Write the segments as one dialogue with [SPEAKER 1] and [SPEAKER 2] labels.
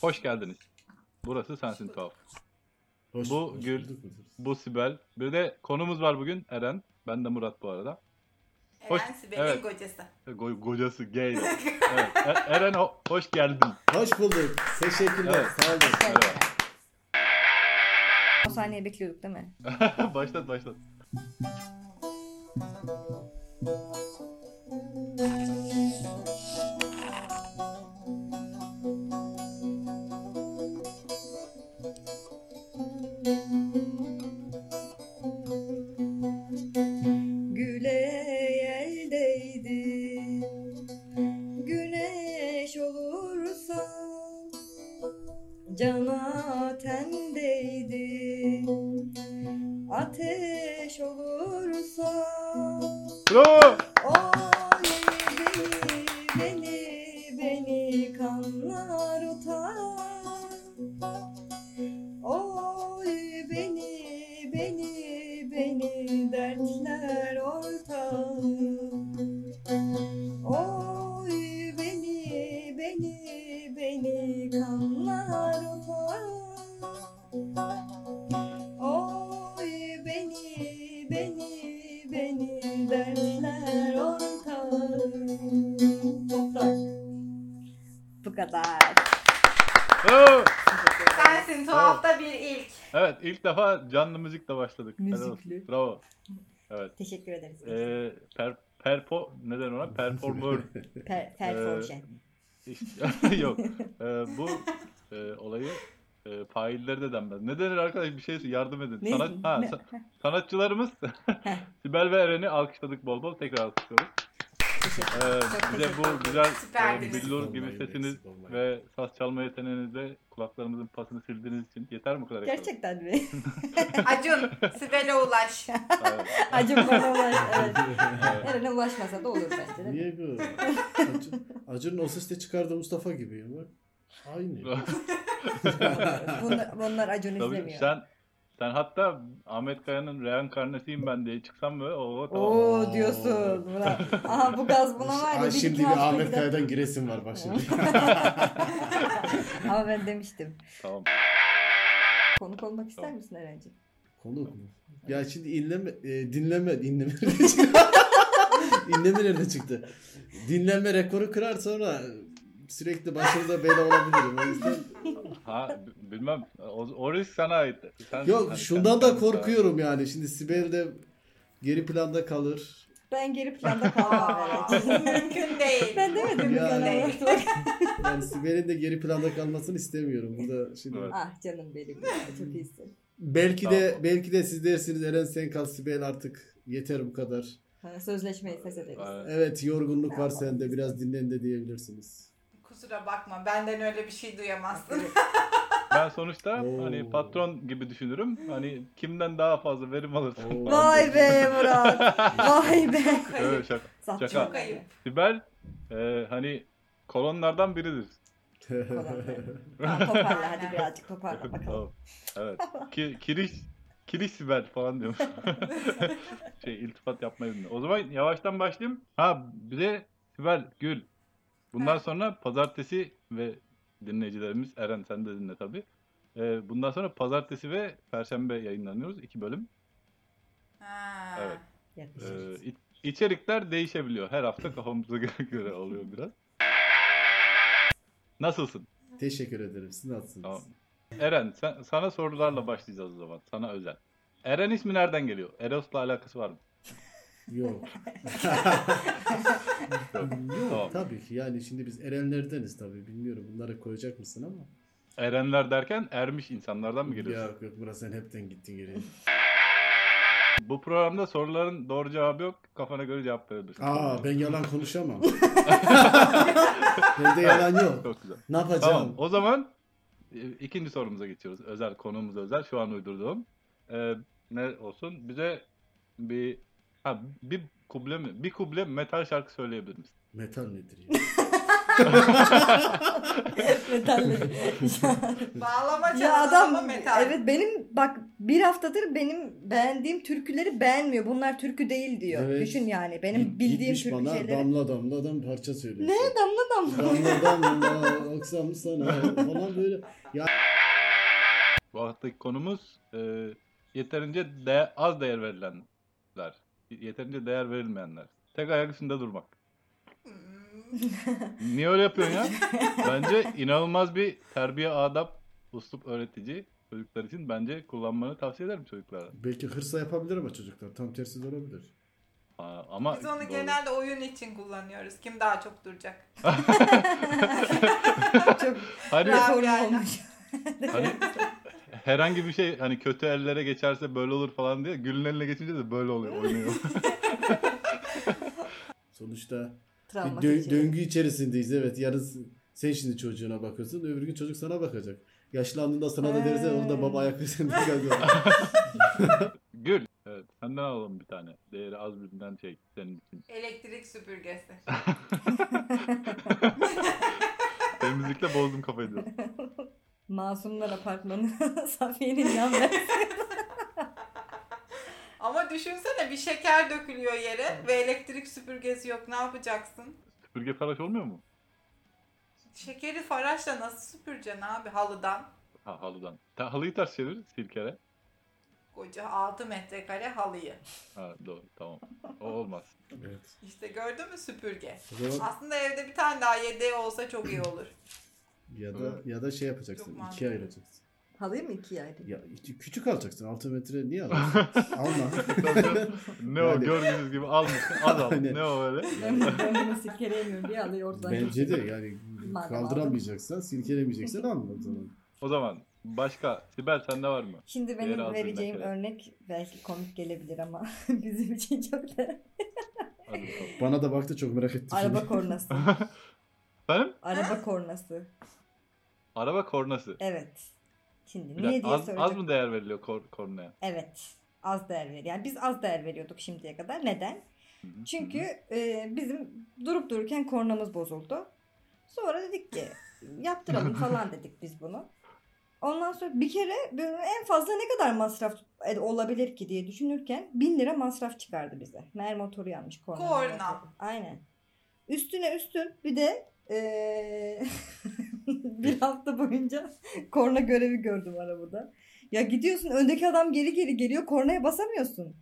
[SPEAKER 1] Hoş geldiniz. Burası sensin tuhaf.
[SPEAKER 2] Hoş,
[SPEAKER 1] Bu
[SPEAKER 2] hoş
[SPEAKER 1] gül-
[SPEAKER 2] bulduk müdür.
[SPEAKER 1] Bu Sibel. Bir de konumuz var bugün Eren. Ben de Murat bu arada. Hoş-
[SPEAKER 3] Eren Sibel'in
[SPEAKER 1] evet.
[SPEAKER 3] kocası.
[SPEAKER 1] Go kocası gay. Evet. E- Eren ho- hoş geldin.
[SPEAKER 2] Hoş bulduk. Teşekkürler.
[SPEAKER 1] Evet.
[SPEAKER 2] Sağ olun.
[SPEAKER 1] Merhaba.
[SPEAKER 4] O sahneyi bekliyorduk değil mi?
[SPEAKER 1] başlat başlat.
[SPEAKER 4] Güle eldeydi Güneş olursa Cana tendeydi Ateş olursa
[SPEAKER 1] Bravo.
[SPEAKER 4] Oley beni beni kanlar utan Oy beni beni beni dertler ortam Oy beni beni beni kanlar utan Oy beni beni beni dertler ortam Toprak Bu kadar
[SPEAKER 1] Bravo.
[SPEAKER 3] Sensin tuhafta bir ilk.
[SPEAKER 1] Evet ilk defa canlı müzikle başladık. Helal olsun.
[SPEAKER 4] Müzikli.
[SPEAKER 1] Bravo.
[SPEAKER 4] Teşekkür ederiz.
[SPEAKER 1] Ee, per, perpo neden ona performör
[SPEAKER 4] per, perforjen.
[SPEAKER 1] İşte- Yok. Ee, bu e, olayı e, failleri de denmez. Ne denir arkadaş? Bir şey yardım edin.
[SPEAKER 4] Ne-
[SPEAKER 1] Sanat, ha,
[SPEAKER 4] ne-
[SPEAKER 1] sa- sanatçılarımız Sibel ve Eren'i alkışladık bol bol. Tekrar alkışlıyoruz.
[SPEAKER 4] Teşekkür
[SPEAKER 1] Ee, bize
[SPEAKER 4] teşekkür ederim.
[SPEAKER 1] bu güzel e,
[SPEAKER 3] Süperdiniz.
[SPEAKER 1] billur gibi
[SPEAKER 2] Olmayın,
[SPEAKER 1] sesiniz
[SPEAKER 2] eksik olmayın.
[SPEAKER 1] ve saz çalma yeteneğinizle kulaklarımızın pasını sildiğiniz için yeter mi bu kadar?
[SPEAKER 4] Gerçekten mi?
[SPEAKER 3] Acun, Sibel'e ulaş.
[SPEAKER 1] Evet.
[SPEAKER 4] Acun bana ulaş. Evet. Eren'e ulaşmasa da olur bence. değil mi?
[SPEAKER 2] Niye bu? Acun, Acun'un o seste çıkardığı Mustafa gibiyim bak. Aynı.
[SPEAKER 4] Bunlar, bunlar Acun
[SPEAKER 1] Tabii
[SPEAKER 4] izlemiyor.
[SPEAKER 1] sen sen hatta Ahmet Kaya'nın reinkarnasıyım ben diye çıksam böyle o tamam.
[SPEAKER 4] Oo diyorsun. Buna. Aha bu gaz buna var ya.
[SPEAKER 2] Ay,
[SPEAKER 4] biz
[SPEAKER 2] şimdi
[SPEAKER 4] iki
[SPEAKER 2] bir
[SPEAKER 4] hafta
[SPEAKER 2] Ahmet
[SPEAKER 4] gider-
[SPEAKER 2] Kaya'dan giresim var bak şimdi.
[SPEAKER 4] Ama ben demiştim.
[SPEAKER 1] Tamam.
[SPEAKER 4] Konuk olmak ister
[SPEAKER 1] Tamam.
[SPEAKER 4] misin Eren'ciğim?
[SPEAKER 2] Konuk mu? Ya şimdi inleme, e, dinleme, dinleme İnleme nerede çıktı? Dinlenme rekoru kırar sonra sürekli başarıda bela olabilirim. O yüzden
[SPEAKER 1] Ha b- bilmem o, o risk sana ait. Sen, hani sen-
[SPEAKER 2] Yok şundan
[SPEAKER 1] sen-
[SPEAKER 2] da korkuyorum yani. Şimdi Sibel de geri planda kalır.
[SPEAKER 4] Ben geri planda kalmam
[SPEAKER 3] Aa,
[SPEAKER 4] Eren'ciğim.
[SPEAKER 3] mümkün değil.
[SPEAKER 4] Ben demedim mi
[SPEAKER 2] Ya.
[SPEAKER 4] sana? unutma.
[SPEAKER 2] Yani Sibel'in de geri planda kalmasını istemiyorum. Bu da şimdi
[SPEAKER 1] Evet.
[SPEAKER 4] ah canım benim. ya, Çok iyisin.
[SPEAKER 2] belki de
[SPEAKER 1] Tamam.
[SPEAKER 2] belki de siz dersiniz Eren sen kal Sibel artık yeter bu kadar.
[SPEAKER 4] Ha, Sözleşmeyi feshederiz.
[SPEAKER 1] Aynen.
[SPEAKER 2] Evet yorgunluk var sende biraz dinlen de diyebilirsiniz.
[SPEAKER 3] Kusura bakma benden öyle bir şey duyamazsın.
[SPEAKER 1] Ben sonuçta
[SPEAKER 2] Oo.
[SPEAKER 1] hani patron gibi düşünürüm. Hani kimden daha fazla verim alırsın.
[SPEAKER 2] Oo.
[SPEAKER 4] Vay be Murat. Vay be.
[SPEAKER 1] Evet şaka.
[SPEAKER 4] Zaten
[SPEAKER 1] Şaka.
[SPEAKER 3] Çok ayıp.
[SPEAKER 1] Sibel e, hani kolonlardan biridir.
[SPEAKER 4] Tamam, toparla hadi birazcık toparla bakalım.
[SPEAKER 1] Tamam. Evet. Ki, kiriş Kiriş Sibel falan diyormuş. şey iltifat yapmayı bilmiyor. O zaman yavaştan başlayayım. Ha bir de Sibel Gül. Bundan
[SPEAKER 3] Ha.
[SPEAKER 1] sonra pazartesi ve dinleyicilerimiz Eren sen de dinle tabii. E, bundan sonra pazartesi ve perşembe yayınlanıyoruz. iki bölüm.
[SPEAKER 3] Ha.
[SPEAKER 1] Evet.
[SPEAKER 4] Yaklaşık.
[SPEAKER 1] Ee, iç- içerikler değişebiliyor. Her hafta kafamıza gö- göre oluyor biraz. Nasılsın?
[SPEAKER 2] Teşekkür ederim. Siz nasılsınız?
[SPEAKER 1] Tamam. Eren, sen- sana sorularla başlayacağız o zaman. Sana özel. Eren ismi nereden geliyor? Eros'la alakası var mı?
[SPEAKER 2] Yok.
[SPEAKER 1] Yok. tamam.
[SPEAKER 2] Tabii ki yani şimdi biz Erenlerdeniz tabii bilmiyorum bunları koyacak mısın ama.
[SPEAKER 1] Erenler derken ermiş insanlardan mı geliyorsun?
[SPEAKER 2] Yok yok burası sen hepten gittin geriye.
[SPEAKER 1] Bu programda soruların doğru cevabı yok. Kafana göre cevap verebilirsin.
[SPEAKER 2] Aa
[SPEAKER 1] Hmm.
[SPEAKER 2] ben yalan konuşamam. Bende yalan yok.
[SPEAKER 1] Çok güzel.
[SPEAKER 2] Ne yapacağım?
[SPEAKER 1] Tamam. O zaman e, ikinci sorumuza geçiyoruz. Özel konuğumuz özel. Şu an uydurduğum. Ee, ne olsun? Bize bir ha, bir kuble mi? Bir kuble metal şarkı söyleyebilir misin?
[SPEAKER 2] Metal nedir ya?
[SPEAKER 4] Metalleri.
[SPEAKER 3] Bağlama çalan
[SPEAKER 4] ya
[SPEAKER 3] ama
[SPEAKER 4] adam
[SPEAKER 3] metal.
[SPEAKER 4] evet benim bak bir haftadır benim beğendiğim türküleri beğenmiyor. Bunlar türkü değil diyor.
[SPEAKER 2] Evet.
[SPEAKER 4] Düşün yani benim
[SPEAKER 2] Git-
[SPEAKER 4] bildiğim
[SPEAKER 2] gitmiş
[SPEAKER 4] türkü
[SPEAKER 2] bana
[SPEAKER 4] şeyleri.
[SPEAKER 2] damla damladan parça söylüyor.
[SPEAKER 4] Ne damla damla.
[SPEAKER 2] Damla damla oksam sana falan böyle.
[SPEAKER 1] Bu haftaki konumuz e, yeterince de, az değer verilenler. Yeterince değer verilmeyenler. Tek ayak üstünde durmak.
[SPEAKER 3] Hmm.
[SPEAKER 1] Niye öyle yapıyorsun ya? Bence inanılmaz bir terbiye, adap, uslup öğretici çocuklar için bence kullanmanı tavsiye ederim çocuklara.
[SPEAKER 2] Belki hırsa yapabilir ama çocuklar tam tersi de olabilir.
[SPEAKER 1] Aa, ama
[SPEAKER 3] Biz onu
[SPEAKER 1] doğru.
[SPEAKER 3] genelde oyun için kullanıyoruz. Kim daha çok duracak?
[SPEAKER 4] Çok
[SPEAKER 1] hani,
[SPEAKER 3] Rahat.
[SPEAKER 4] reform
[SPEAKER 3] yani.
[SPEAKER 4] olmuş.
[SPEAKER 1] hani herhangi bir şey hani kötü ellere geçerse böyle olur falan diye gülün eline geçince de böyle oluyor oynuyor.
[SPEAKER 2] Sonuçta bir
[SPEAKER 4] Travma
[SPEAKER 2] dö-
[SPEAKER 4] seçeneği.
[SPEAKER 2] döngü içerisindeyiz. Evet yarın s- sen şimdi çocuğuna bakıyorsun. Öbür gün çocuk sana bakacak. Yaşlandığında sana da derse onu da
[SPEAKER 4] Ee.
[SPEAKER 2] baba ayaklı sen de kalkar.
[SPEAKER 1] Gül. Evet, senden alalım bir tane. Değeri az bilinen şey senin için.
[SPEAKER 3] Elektrik süpürgesi.
[SPEAKER 1] Temizlikle bozdum kafayı diyorum.
[SPEAKER 4] Masumlar apartmanı Safiye'nin yan ve
[SPEAKER 3] Ama düşünsene bir şeker dökülüyor yere ve elektrik süpürgesi yok. Ne yapacaksın?
[SPEAKER 1] Süpürge faraş olmuyor mu?
[SPEAKER 3] Şekeri faraşla nasıl süpüreceksin abi halıdan?
[SPEAKER 1] Ha halıdan. Ta, halıyı ters çevir silkele.
[SPEAKER 3] Koca 6 metrekare halıyı.
[SPEAKER 1] Ha doğru tamam. O olmaz.
[SPEAKER 2] evet.
[SPEAKER 3] İşte gördün mü süpürge.
[SPEAKER 2] O zaman
[SPEAKER 3] Aslında evde bir tane daha yedeği olsa çok iyi olur.
[SPEAKER 2] ya da ya da şey yapacaksın.
[SPEAKER 3] Çok
[SPEAKER 2] ikiye
[SPEAKER 3] mantıklı.
[SPEAKER 2] ayıracaksın.
[SPEAKER 4] halıyı mı ikiye ayırdı?
[SPEAKER 2] Ya iki- küçük alacaksın. 6 metre niye alacaksın? Alma.
[SPEAKER 1] Ne o
[SPEAKER 2] Yani-
[SPEAKER 1] gördüğünüz gibi almış. Az al.
[SPEAKER 2] Aynen.
[SPEAKER 1] Ne o öyle?
[SPEAKER 4] Ben, ben bunu silkeleyemiyorum diye alıyor oradan.
[SPEAKER 2] Bence de yani
[SPEAKER 4] Madem
[SPEAKER 2] kaldıramayacaksan, silkelemeyeceksen alma o zaman.
[SPEAKER 1] O zaman başka. Sibel sende var mı?
[SPEAKER 4] Şimdi
[SPEAKER 1] Yer
[SPEAKER 4] benim
[SPEAKER 1] altından
[SPEAKER 4] vereceğim
[SPEAKER 1] kalan.
[SPEAKER 4] örnek belki komik gelebilir ama bizim için çok da
[SPEAKER 1] Hadi bakalım.
[SPEAKER 2] Bana da baktı çok merak ettim.
[SPEAKER 4] araba kornası.
[SPEAKER 1] Benim
[SPEAKER 4] araba kornası.
[SPEAKER 1] araba kornası.
[SPEAKER 4] Evet. Şimdi
[SPEAKER 1] Bir
[SPEAKER 4] niye
[SPEAKER 1] dakika,
[SPEAKER 4] diye
[SPEAKER 1] az,
[SPEAKER 4] soracak.
[SPEAKER 1] az mı değer veriliyor kor, kornaya?
[SPEAKER 4] Evet. Az değer veriyor. Yani biz az değer veriyorduk şimdiye kadar. Neden?
[SPEAKER 1] Hı hı,
[SPEAKER 4] Çünkü
[SPEAKER 1] hı hı.
[SPEAKER 4] e, bizim durup dururken kornamız bozuldu. Sonra dedik ki yaptıralım falan dedik biz bunu. Ondan sonra bir kere böyle en fazla ne kadar masraf ed- olabilir ki diye düşünürken 1000 lira masraf çıkardı bize. Meğer motoru yanmış korna.
[SPEAKER 3] Korna.
[SPEAKER 4] Aynen. Üstüne üstün bir de eee, bir hafta boyunca korna görevi gördüm arabada. Ya gidiyorsun öndeki adam geri geri geliyor kornaya basamıyorsun.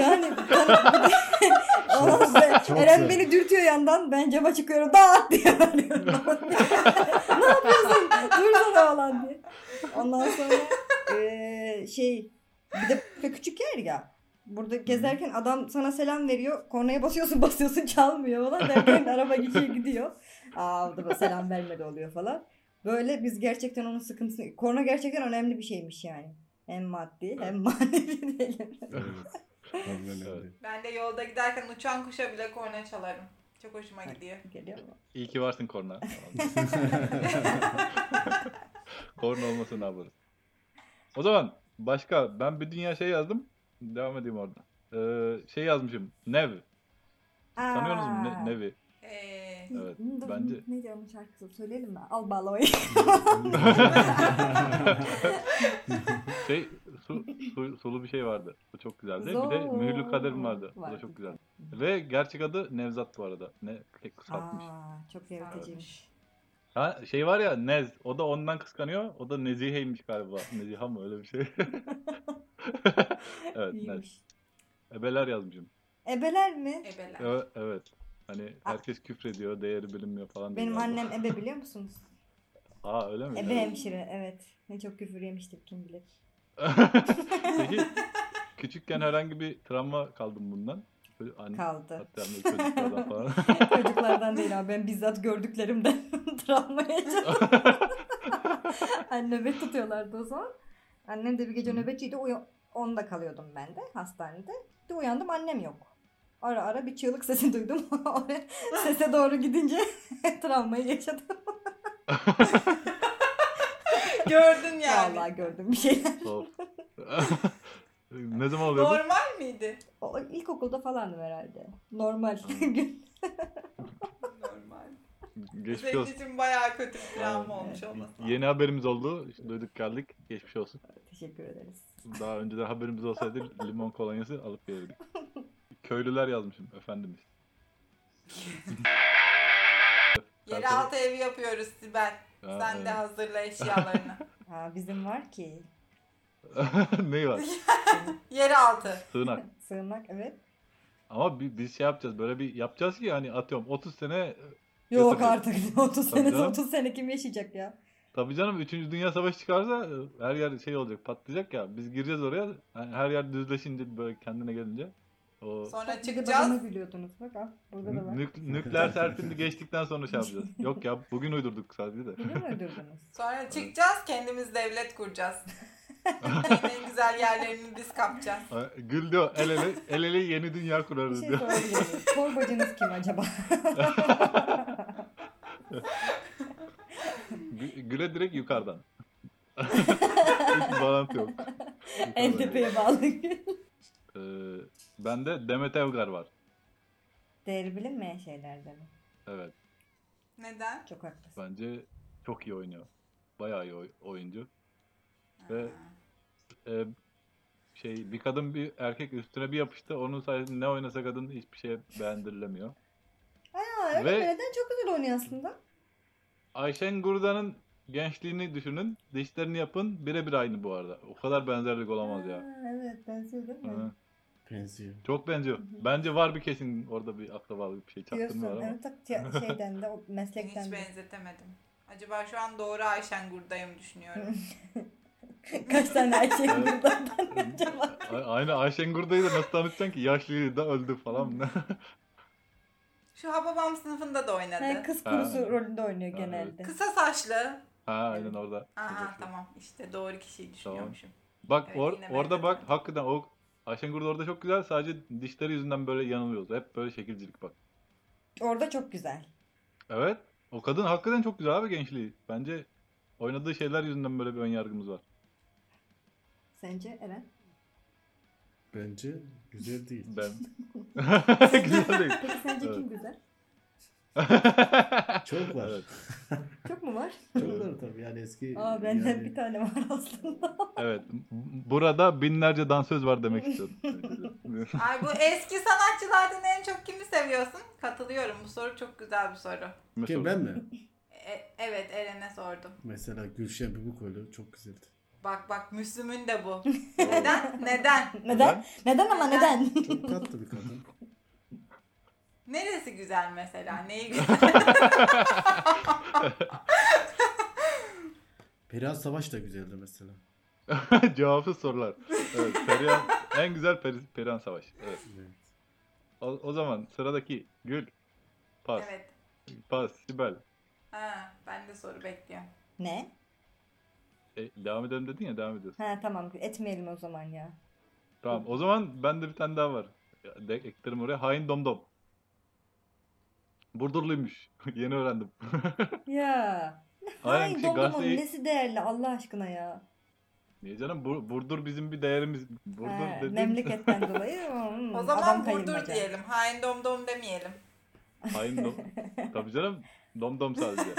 [SPEAKER 4] Yani ben- Ondan sonra
[SPEAKER 2] Çok
[SPEAKER 4] Eren
[SPEAKER 2] güzel.
[SPEAKER 4] beni dürtüyor yandan ben cama çıkıyorum dağıt diye bağırıyorum. ne yapıyorsun dursana falan diye. Ondan sonra eee, şey bir de böyle küçük yer ya. Burada gezerken adam sana selam veriyor. Kornaya basıyorsun basıyorsun çalmıyor falan derken araba geçiyor gidiyor. Aa o da bana selam vermedi oluyor falan. Böyle biz gerçekten onun sıkıntısını... Korna gerçekten önemli bir şeymiş yani. Hem maddi hem manevi diyelim.
[SPEAKER 2] Evet. Tam öyle.
[SPEAKER 1] Evet.
[SPEAKER 3] Ben de yolda giderken uçan kuşa bile korna çalarım. Çok hoşuma gidiyor.
[SPEAKER 4] Geliyor mu?
[SPEAKER 1] İyi ki varsın korna. korna olmasa ne yaparız? O zaman başka. Ben bir dünya şey yazdım. Devam edeyim orada. Ee, şey yazmışım. Nev. Tanıyor musun Ne- Nev'i?
[SPEAKER 3] Ee,
[SPEAKER 1] Evet,
[SPEAKER 4] Bunu da-
[SPEAKER 1] bence-
[SPEAKER 4] Ne diyor onun şarkısı? Söyleyelim mi? Al balayı.
[SPEAKER 1] Şey su, su- sulu bir şey vardı. O çok güzeldi. Bir de Mühürlü Kaderim vardı. O da
[SPEAKER 4] Vardı.
[SPEAKER 1] çok güzeldi. Ve gerçek adı Nevzat bu arada. Ne kısaltmış.
[SPEAKER 4] Aa, çok yaratıcıymış.
[SPEAKER 1] Ha şey var ya Nez. O da ondan kıskanıyor. O da Nezihe'ymiş galiba. Neziha mı öyle bir şey. evet Nez.
[SPEAKER 4] İyiymiş.
[SPEAKER 1] Ebeler yazmışım.
[SPEAKER 4] Ebeler mi?
[SPEAKER 3] ebeler.
[SPEAKER 1] Evet, evet. Hani herkes küfrediyor, değeri bilinmiyor falan.
[SPEAKER 4] Ah. Benim
[SPEAKER 1] diyorlar.
[SPEAKER 4] annem ebe biliyor musunuz?
[SPEAKER 1] Aa öyle mi?
[SPEAKER 4] Ebe hemşire evet. Ne çok küfür yemiştir kim bilir.
[SPEAKER 1] Peki küçükken herhangi bir travma kaldım bundan. Böyle anne,
[SPEAKER 4] Kaldı.
[SPEAKER 1] hatta böyle çocuklardan falan.
[SPEAKER 4] Çocuklardan değil abi ben bizzat gördüklerimden travma yaşadım. Anne nöbet tutuyorlardı o zaman. Annem de bir gece
[SPEAKER 1] Hı.
[SPEAKER 4] nöbetçiydi. Uya- onda kalıyordum ben de hastanede. Bir uyandım annem yok. Ara ara bir çığlık sesi duydum. Oraya Sese doğru gidince travmayı yaşadım.
[SPEAKER 3] Gördün yani.
[SPEAKER 4] Vallahi gördüm bir şeyler.
[SPEAKER 1] Of. ne zaman oluyor bu?
[SPEAKER 3] Normal miydi?
[SPEAKER 4] O, ilkokulda falandım herhalde. Normal
[SPEAKER 1] Hı.
[SPEAKER 4] gün.
[SPEAKER 3] Normal.
[SPEAKER 1] Geçmiş
[SPEAKER 3] Senin
[SPEAKER 1] olsun.
[SPEAKER 3] için bayağı kötü bir travma
[SPEAKER 4] Aynen.
[SPEAKER 3] olmuş olmasın.
[SPEAKER 1] Yeni haberimiz oldu. Duyduk geldik. Geçmiş olsun.
[SPEAKER 4] Teşekkür ederiz.
[SPEAKER 1] Daha önceden haberimiz olsaydı limon kolonyası alıp gelirdik. Köylüler yazmışım efendimiz.
[SPEAKER 3] Yeraltı evi yapıyoruz Sibel.
[SPEAKER 1] Ha,
[SPEAKER 3] Sen de hazırla eşyalarını.
[SPEAKER 4] Aa, bizim var ki.
[SPEAKER 1] evet. ne var?
[SPEAKER 3] Yeraltı.
[SPEAKER 1] Sığınak.
[SPEAKER 4] Sığınak evet.
[SPEAKER 1] Ama bi- biz şey yapacağız. Böyle bir yapacağız ki yani atıyorum 30 sene
[SPEAKER 4] Yok
[SPEAKER 1] Yok, tabii.
[SPEAKER 4] artık 30
[SPEAKER 1] Tabii
[SPEAKER 4] sene
[SPEAKER 1] canım.
[SPEAKER 4] 30 sene kim yaşayacak ya?
[SPEAKER 1] Tabii canım 3. Dünya Savaşı çıkarsa e, her yer şey olacak patlayacak ya. Biz gireceğiz oraya. Yani her yer düzleşince böyle kendine gelince. O
[SPEAKER 3] Sonra
[SPEAKER 4] Bir de
[SPEAKER 3] çıkacağız.
[SPEAKER 4] babama gülüyordunuz bak al burada da var.
[SPEAKER 1] nük- nükleer serpinti geçtikten sonra şey yapacağız. Yok ya bugün uydurduk sadece de.
[SPEAKER 4] Bunu mu öldürdünüz?
[SPEAKER 3] Sonra çıkacağız kendimiz devlet kuracağız. Ülkenin en güzel yerlerini biz kapacağız.
[SPEAKER 1] Ha, Güldü o. El ele, el ele yeni dünya
[SPEAKER 4] Bir
[SPEAKER 1] kurarız
[SPEAKER 4] şey
[SPEAKER 1] diyor.
[SPEAKER 4] sorabilir miyim? Torbacınız kim acaba?
[SPEAKER 1] Gü- Güle direkt yukarıdan. Hiç bağlantı yok.
[SPEAKER 4] en
[SPEAKER 1] Yukarıdan.
[SPEAKER 4] tepeye bağlı.
[SPEAKER 1] Ee, bende Demet Evgar var.
[SPEAKER 4] Değeri bilinmeyen şeylerde mi?
[SPEAKER 1] Evet.
[SPEAKER 3] Neden?
[SPEAKER 4] Çok haklısın.
[SPEAKER 1] Bence çok iyi oynuyor. Bayağı iyi oy- oyuncu. Ve e, şey bir kadın bir erkek üstüne bir yapıştı. Onun sayesinde ne oynasa kadın hiçbir şeye beğendirilemiyor.
[SPEAKER 4] Aa, öyle
[SPEAKER 1] Ve-
[SPEAKER 4] mi? Neden çok güzel oynuyor aslında?
[SPEAKER 1] Ayşen Gurda'nın gençliğini düşünün. Dişlerini yapın. Birebir aynı bu arada. O kadar benzerlik olamaz ya.
[SPEAKER 4] Ha, evet benziyor değil mi?
[SPEAKER 1] Hı.
[SPEAKER 2] Benziyor.
[SPEAKER 1] Çok benziyor.
[SPEAKER 4] Hı hı.
[SPEAKER 1] Bence var bir kesin orada bir akrabalık bir şey
[SPEAKER 4] Diyorsun
[SPEAKER 1] çaktırma var ama.
[SPEAKER 4] evet tak ya- şeyden de o meslekten
[SPEAKER 3] Hiç
[SPEAKER 4] de.
[SPEAKER 3] benzetemedim. Acaba şu an doğru Ayşen Gurda'yı mı düşünüyorum?
[SPEAKER 4] Kaç tane erkek
[SPEAKER 1] Evet.
[SPEAKER 4] buradan ben acaba?
[SPEAKER 1] A- Aynı Ayşen Gurda'yı da nasıl tanıtacaksın ki? Yaşlıydı da öldü falan.
[SPEAKER 3] Şu Hababam sınıfında da oynadı.
[SPEAKER 4] Ha, kız kurusu
[SPEAKER 1] Ha.
[SPEAKER 4] rolünde oynuyor
[SPEAKER 1] Ha,
[SPEAKER 4] genelde.
[SPEAKER 3] Kısa saçlı.
[SPEAKER 1] ha aynen orada.
[SPEAKER 3] Aha tamam işte doğru kişiyi düşünüyormuşum.
[SPEAKER 1] Bak
[SPEAKER 3] Evet,
[SPEAKER 1] or-
[SPEAKER 3] yine ben
[SPEAKER 1] orada bak
[SPEAKER 3] kazandım.
[SPEAKER 1] hakikaten o Ayşen Gurda orada çok güzel. Sadece dişleri yüzünden böyle yanılıyoruz. Hep böyle şekilcilik bak.
[SPEAKER 4] Orada çok güzel.
[SPEAKER 1] Evet. O kadın hakikaten çok güzel abi gençliği. Bence oynadığı şeyler yüzünden böyle bir ön yargımız var.
[SPEAKER 4] Sence Eren?
[SPEAKER 2] Bence güzel değil.
[SPEAKER 1] Ben. güzel değil.
[SPEAKER 4] Peki sence
[SPEAKER 1] Evet.
[SPEAKER 4] kim güzel?
[SPEAKER 2] Çok var.
[SPEAKER 1] Evet.
[SPEAKER 4] Çok mu var?
[SPEAKER 2] Çok var tabii yani eski.
[SPEAKER 4] Aa benden
[SPEAKER 2] yani-
[SPEAKER 4] bir tane var aslında.
[SPEAKER 1] evet. Burada binlerce dansöz var demek istiyorum.
[SPEAKER 3] Ay bu eski sanatçılardan en çok kimi seviyorsun? Katılıyorum bu soru çok güzel bir soru.
[SPEAKER 2] Kim ben mi?
[SPEAKER 3] E- evet Eren'e sordum.
[SPEAKER 2] Mesela Gülşen Bubikoğlu çok güzeldi.
[SPEAKER 3] Bak bak Müslüm'ün de bu. Neden? Neden?
[SPEAKER 4] Neden? Neden ama neden?
[SPEAKER 2] Çok tatlı bir kadın.
[SPEAKER 3] Neresi güzel mesela? Neyi güzel?
[SPEAKER 2] Perihan Savaş da güzeldi mesela.
[SPEAKER 1] Cevapsız sorular. Evet, Perihan, en güzel peri, Perihan Savaş. Evet.
[SPEAKER 2] Evet.
[SPEAKER 1] O, o zaman sıradaki Gül. Pas.
[SPEAKER 3] evet.
[SPEAKER 1] Pas. Sibel.
[SPEAKER 3] Ha, ben de soru bekliyorum.
[SPEAKER 4] ne?
[SPEAKER 1] E, devam edelim dedin ya devam ediyorsun.
[SPEAKER 4] Ha tamam etmeyelim o zaman ya.
[SPEAKER 1] Tamam. O zaman bende bir tane daha var. Ya, de- Eklerim oraya. Hain Domdom. Burdurluymuş. Yeni öğrendim.
[SPEAKER 4] Ya.
[SPEAKER 1] Aynen,
[SPEAKER 4] Ay
[SPEAKER 1] şey,
[SPEAKER 4] Domdom'un
[SPEAKER 1] gazeteyi-
[SPEAKER 4] nesi değerli Allah aşkına ya.
[SPEAKER 1] Niye canım? Bur- Burdur bizim bir değerimiz. Burdur
[SPEAKER 4] Ha,
[SPEAKER 1] dediğim
[SPEAKER 4] memleketten dolayı. hmm,
[SPEAKER 3] O zaman
[SPEAKER 4] adam
[SPEAKER 3] Burdur
[SPEAKER 4] kayırmaca.
[SPEAKER 3] diyelim. Hain domdom demeyelim.
[SPEAKER 1] Hain Dom. Tabii canım. Domdom sadece.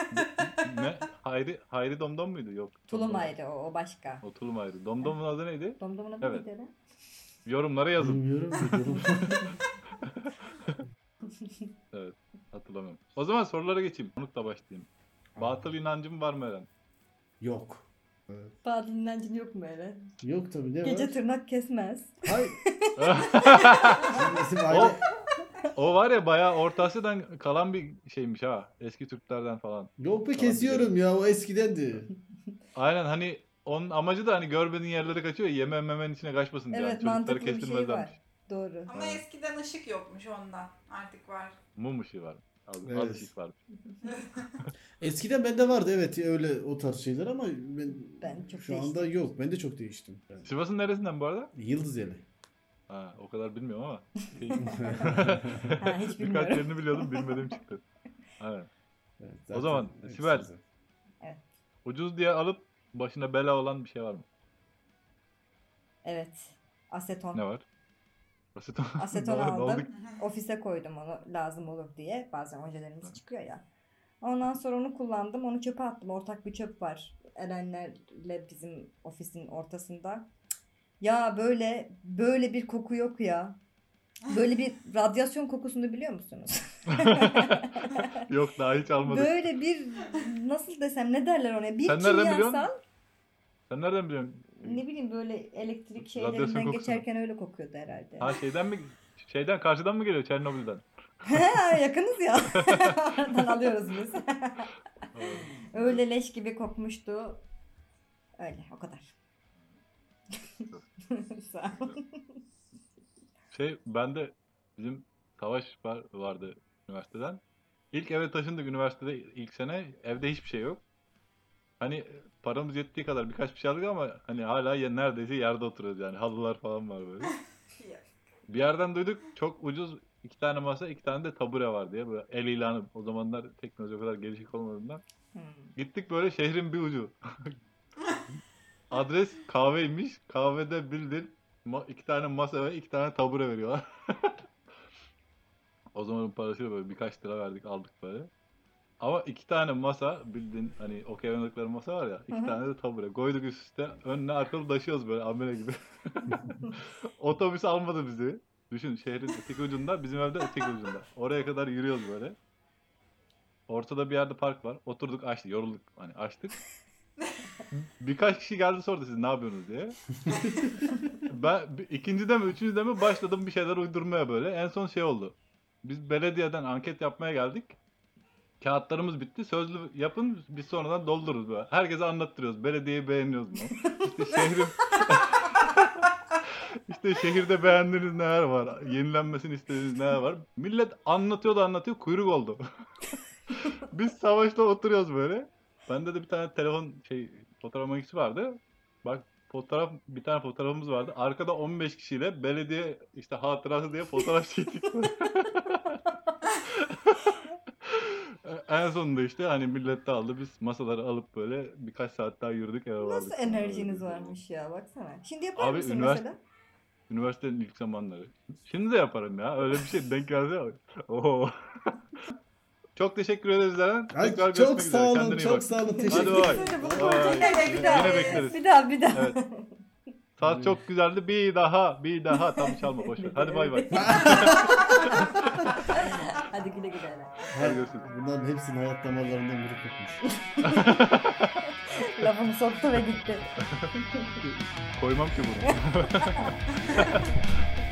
[SPEAKER 1] ne? Hayri, Hayri Domdom muydu? Yok.
[SPEAKER 4] Tulum ayrı o, o başka.
[SPEAKER 1] O Tulum Hayri. Domdom'un adı neydi?
[SPEAKER 4] Domdom'un adı
[SPEAKER 1] Evet.
[SPEAKER 4] neydi Eren?
[SPEAKER 1] Yorumlara yazın.
[SPEAKER 2] Bilmiyorum. bilmiyorum.
[SPEAKER 1] Hatırlamıyorum. O zaman sorulara geçeyim. Konukla başlayayım. Batıl inancım var mı Eren?
[SPEAKER 2] Yok.
[SPEAKER 4] Batıl inancın yok mu Eren?
[SPEAKER 2] Yok tabii ne
[SPEAKER 4] Gece
[SPEAKER 2] var?
[SPEAKER 4] tırnak kesmez.
[SPEAKER 2] Hayır. Bizim aile...
[SPEAKER 1] o, o var ya bayağı Orta Asya'dan kalan bir şeymiş ha. Eski Türklerden falan.
[SPEAKER 2] Yok be
[SPEAKER 1] Tamam,
[SPEAKER 2] kesiyorum ya o eskidendi.
[SPEAKER 1] Aynen hani onun amacı da hani görmediğin yerlere kaçıyor ya yeme memenin içine kaçmasın diye.
[SPEAKER 4] evet
[SPEAKER 1] Yani çocukları
[SPEAKER 4] mantıklı bir şey
[SPEAKER 1] kestirmezlermiş.
[SPEAKER 4] var. Doğru.
[SPEAKER 3] Ama
[SPEAKER 1] Evet.
[SPEAKER 3] eskiden ışık yokmuş ondan. Artık var.
[SPEAKER 1] Mum ışığı var. Az, az
[SPEAKER 2] Evet.
[SPEAKER 1] ışık var.
[SPEAKER 2] Eskiden bende vardı evet öyle o tarz şeyler ama ben,
[SPEAKER 4] Ben çok
[SPEAKER 2] şu anda yok. Ben de çok değiştim. Yani
[SPEAKER 1] Sivas'ın neresinden bu arada?
[SPEAKER 2] Yıldız eli.
[SPEAKER 1] Ha, o kadar bilmiyorum ama. Şey,
[SPEAKER 4] Ha,
[SPEAKER 1] birkaç
[SPEAKER 4] hiç bilmiyorum.
[SPEAKER 1] yerini biliyordum bilmediğim çıktı. Aynen.
[SPEAKER 2] Evet,
[SPEAKER 1] O zaman, Sibel.
[SPEAKER 2] size.
[SPEAKER 1] Ucuz diye alıp başına bela olan bir şey var mı?
[SPEAKER 4] Evet. Aseton.
[SPEAKER 1] Ne var? Aseton.
[SPEAKER 4] Aseton
[SPEAKER 1] Ne oldu?
[SPEAKER 4] aldım. Ofise koydum onu lazım olur diye. Bazen hocalarımız çıkıyor ya. Ondan sonra onu kullandım. Onu çöpe attım. Ortak bir çöp var. Erenlerle bizim ofisin ortasında. Ya böyle böyle bir koku yok ya. Böyle bir radyasyon kokusunu biliyor musunuz?
[SPEAKER 1] Yok daha hiç almadık.
[SPEAKER 4] böyle bir nasıl desem ne derler ona? Bir
[SPEAKER 1] Sen nereden
[SPEAKER 4] kimyasal
[SPEAKER 1] biliyorsun? Sen nereden biliyorsun?
[SPEAKER 4] ne bileyim böyle elektrik
[SPEAKER 1] Radyasyon
[SPEAKER 4] şeylerinden
[SPEAKER 1] kokusunu.
[SPEAKER 4] geçerken öyle kokuyordu herhalde.
[SPEAKER 1] Ha şeyden mi? Şeyden karşıdan mı geliyor Çernobil'den?
[SPEAKER 4] He, yakınız ya. Oradan alıyoruz biz. Öyle leş gibi kokmuştu. Öyle o kadar. Sağ ol.
[SPEAKER 1] Şey ben de bizim savaş var, vardı üniversiteden. İlk eve taşındık üniversitede ilk sene. Evde hiçbir şey yok. Hani paramız yettiği kadar birkaç bir şey aldık ama hani hala ya, neredeyse yerde oturuyoruz yani. Halılar falan var böyle. Bir yerden duyduk çok ucuz iki tane masa iki tane de tabure var diye böyle el ilanı o zamanlar teknoloji o kadar gelişik olmadığından.
[SPEAKER 4] Hmm.
[SPEAKER 1] Gittik böyle şehrin bir ucu. Adres kahveymiş. Kahvede bildin ma- iki tane masa ve iki tane tabure veriyorlar. o zamanın parasıyla böyle birkaç lira verdik aldık böyle. Ama iki tane masa bildiğin hani okey oynadıkları masa var ya iki
[SPEAKER 4] Hı hı.
[SPEAKER 1] tane de tabure koyduk üst üste önüne arkalı taşıyoruz böyle amele gibi. Otobüs almadı bizi. Düşün şehrin öteki ucunda bizim evde öteki ucunda. Oraya kadar yürüyoruz böyle. Ortada bir yerde park var. Oturduk açtık. Yorulduk. Hani açtık. Birkaç kişi geldi sordu siz ne yapıyorsunuz diye. ben bir- ikincide mi üçüncüde mi başladım bir şeyler uydurmaya böyle. En son şey oldu. Biz belediyeden anket yapmaya geldik. Kağıtlarımız bitti. Sözlü yapın biz sonradan doldururuz böyle. Herkese anlattırıyoruz. Belediyeyi beğeniyoruz mu? İşte şehrim İşte şehirde beğendiğiniz neler var? Yenilenmesini istediğiniz neler var? Millet anlatıyor da anlatıyor kuyruk oldu. Biz savaşta oturuyoruz böyle. Bende de bir tane telefon şey fotoğraf makinesi vardı. Bak fotoğraf bir tane fotoğrafımız vardı. Arkada 15 kişiyle belediye işte hatırası diye fotoğraf çektik. E, en sonunda işte hani millet de aldı. Biz masaları alıp böyle birkaç saat daha yürüdük eve vardık.
[SPEAKER 4] Nasıl enerjiniz varmış ya baksana. Şimdi yapar
[SPEAKER 1] Abi,
[SPEAKER 4] mısın
[SPEAKER 1] üniversite-
[SPEAKER 4] mesela?
[SPEAKER 1] Üniversitenin ilk zamanları. Şimdi de yaparım ya. Öyle bir şey denk gelse. Oo. çok teşekkür ederiz Eren.
[SPEAKER 2] Ay,
[SPEAKER 1] Tekrar
[SPEAKER 2] çok
[SPEAKER 1] görüşmek
[SPEAKER 2] sağ
[SPEAKER 1] üzere.
[SPEAKER 2] olun,
[SPEAKER 1] Kendine iyi
[SPEAKER 2] çok
[SPEAKER 1] bak.
[SPEAKER 2] sağ olun.
[SPEAKER 1] Hadi
[SPEAKER 2] Teşekkür
[SPEAKER 1] bay.
[SPEAKER 4] Söyle, bunu
[SPEAKER 1] Bay.
[SPEAKER 4] kontrol edelim.
[SPEAKER 3] Bir
[SPEAKER 1] Yine
[SPEAKER 3] daha.
[SPEAKER 1] bekleriz.
[SPEAKER 4] Bir daha bir daha.
[SPEAKER 1] Evet. Saat çok güzeldi. Bir daha, bir daha. Tam çalma boş ver. Hadi bay bay.
[SPEAKER 4] Hadi güle güle. Eren.
[SPEAKER 1] Hadi görüşürüz.
[SPEAKER 2] Bunların hepsinin hayat damarlarından biri kopmuş.
[SPEAKER 4] Lafını soktu ve gitti.
[SPEAKER 1] Koymam ki bunu.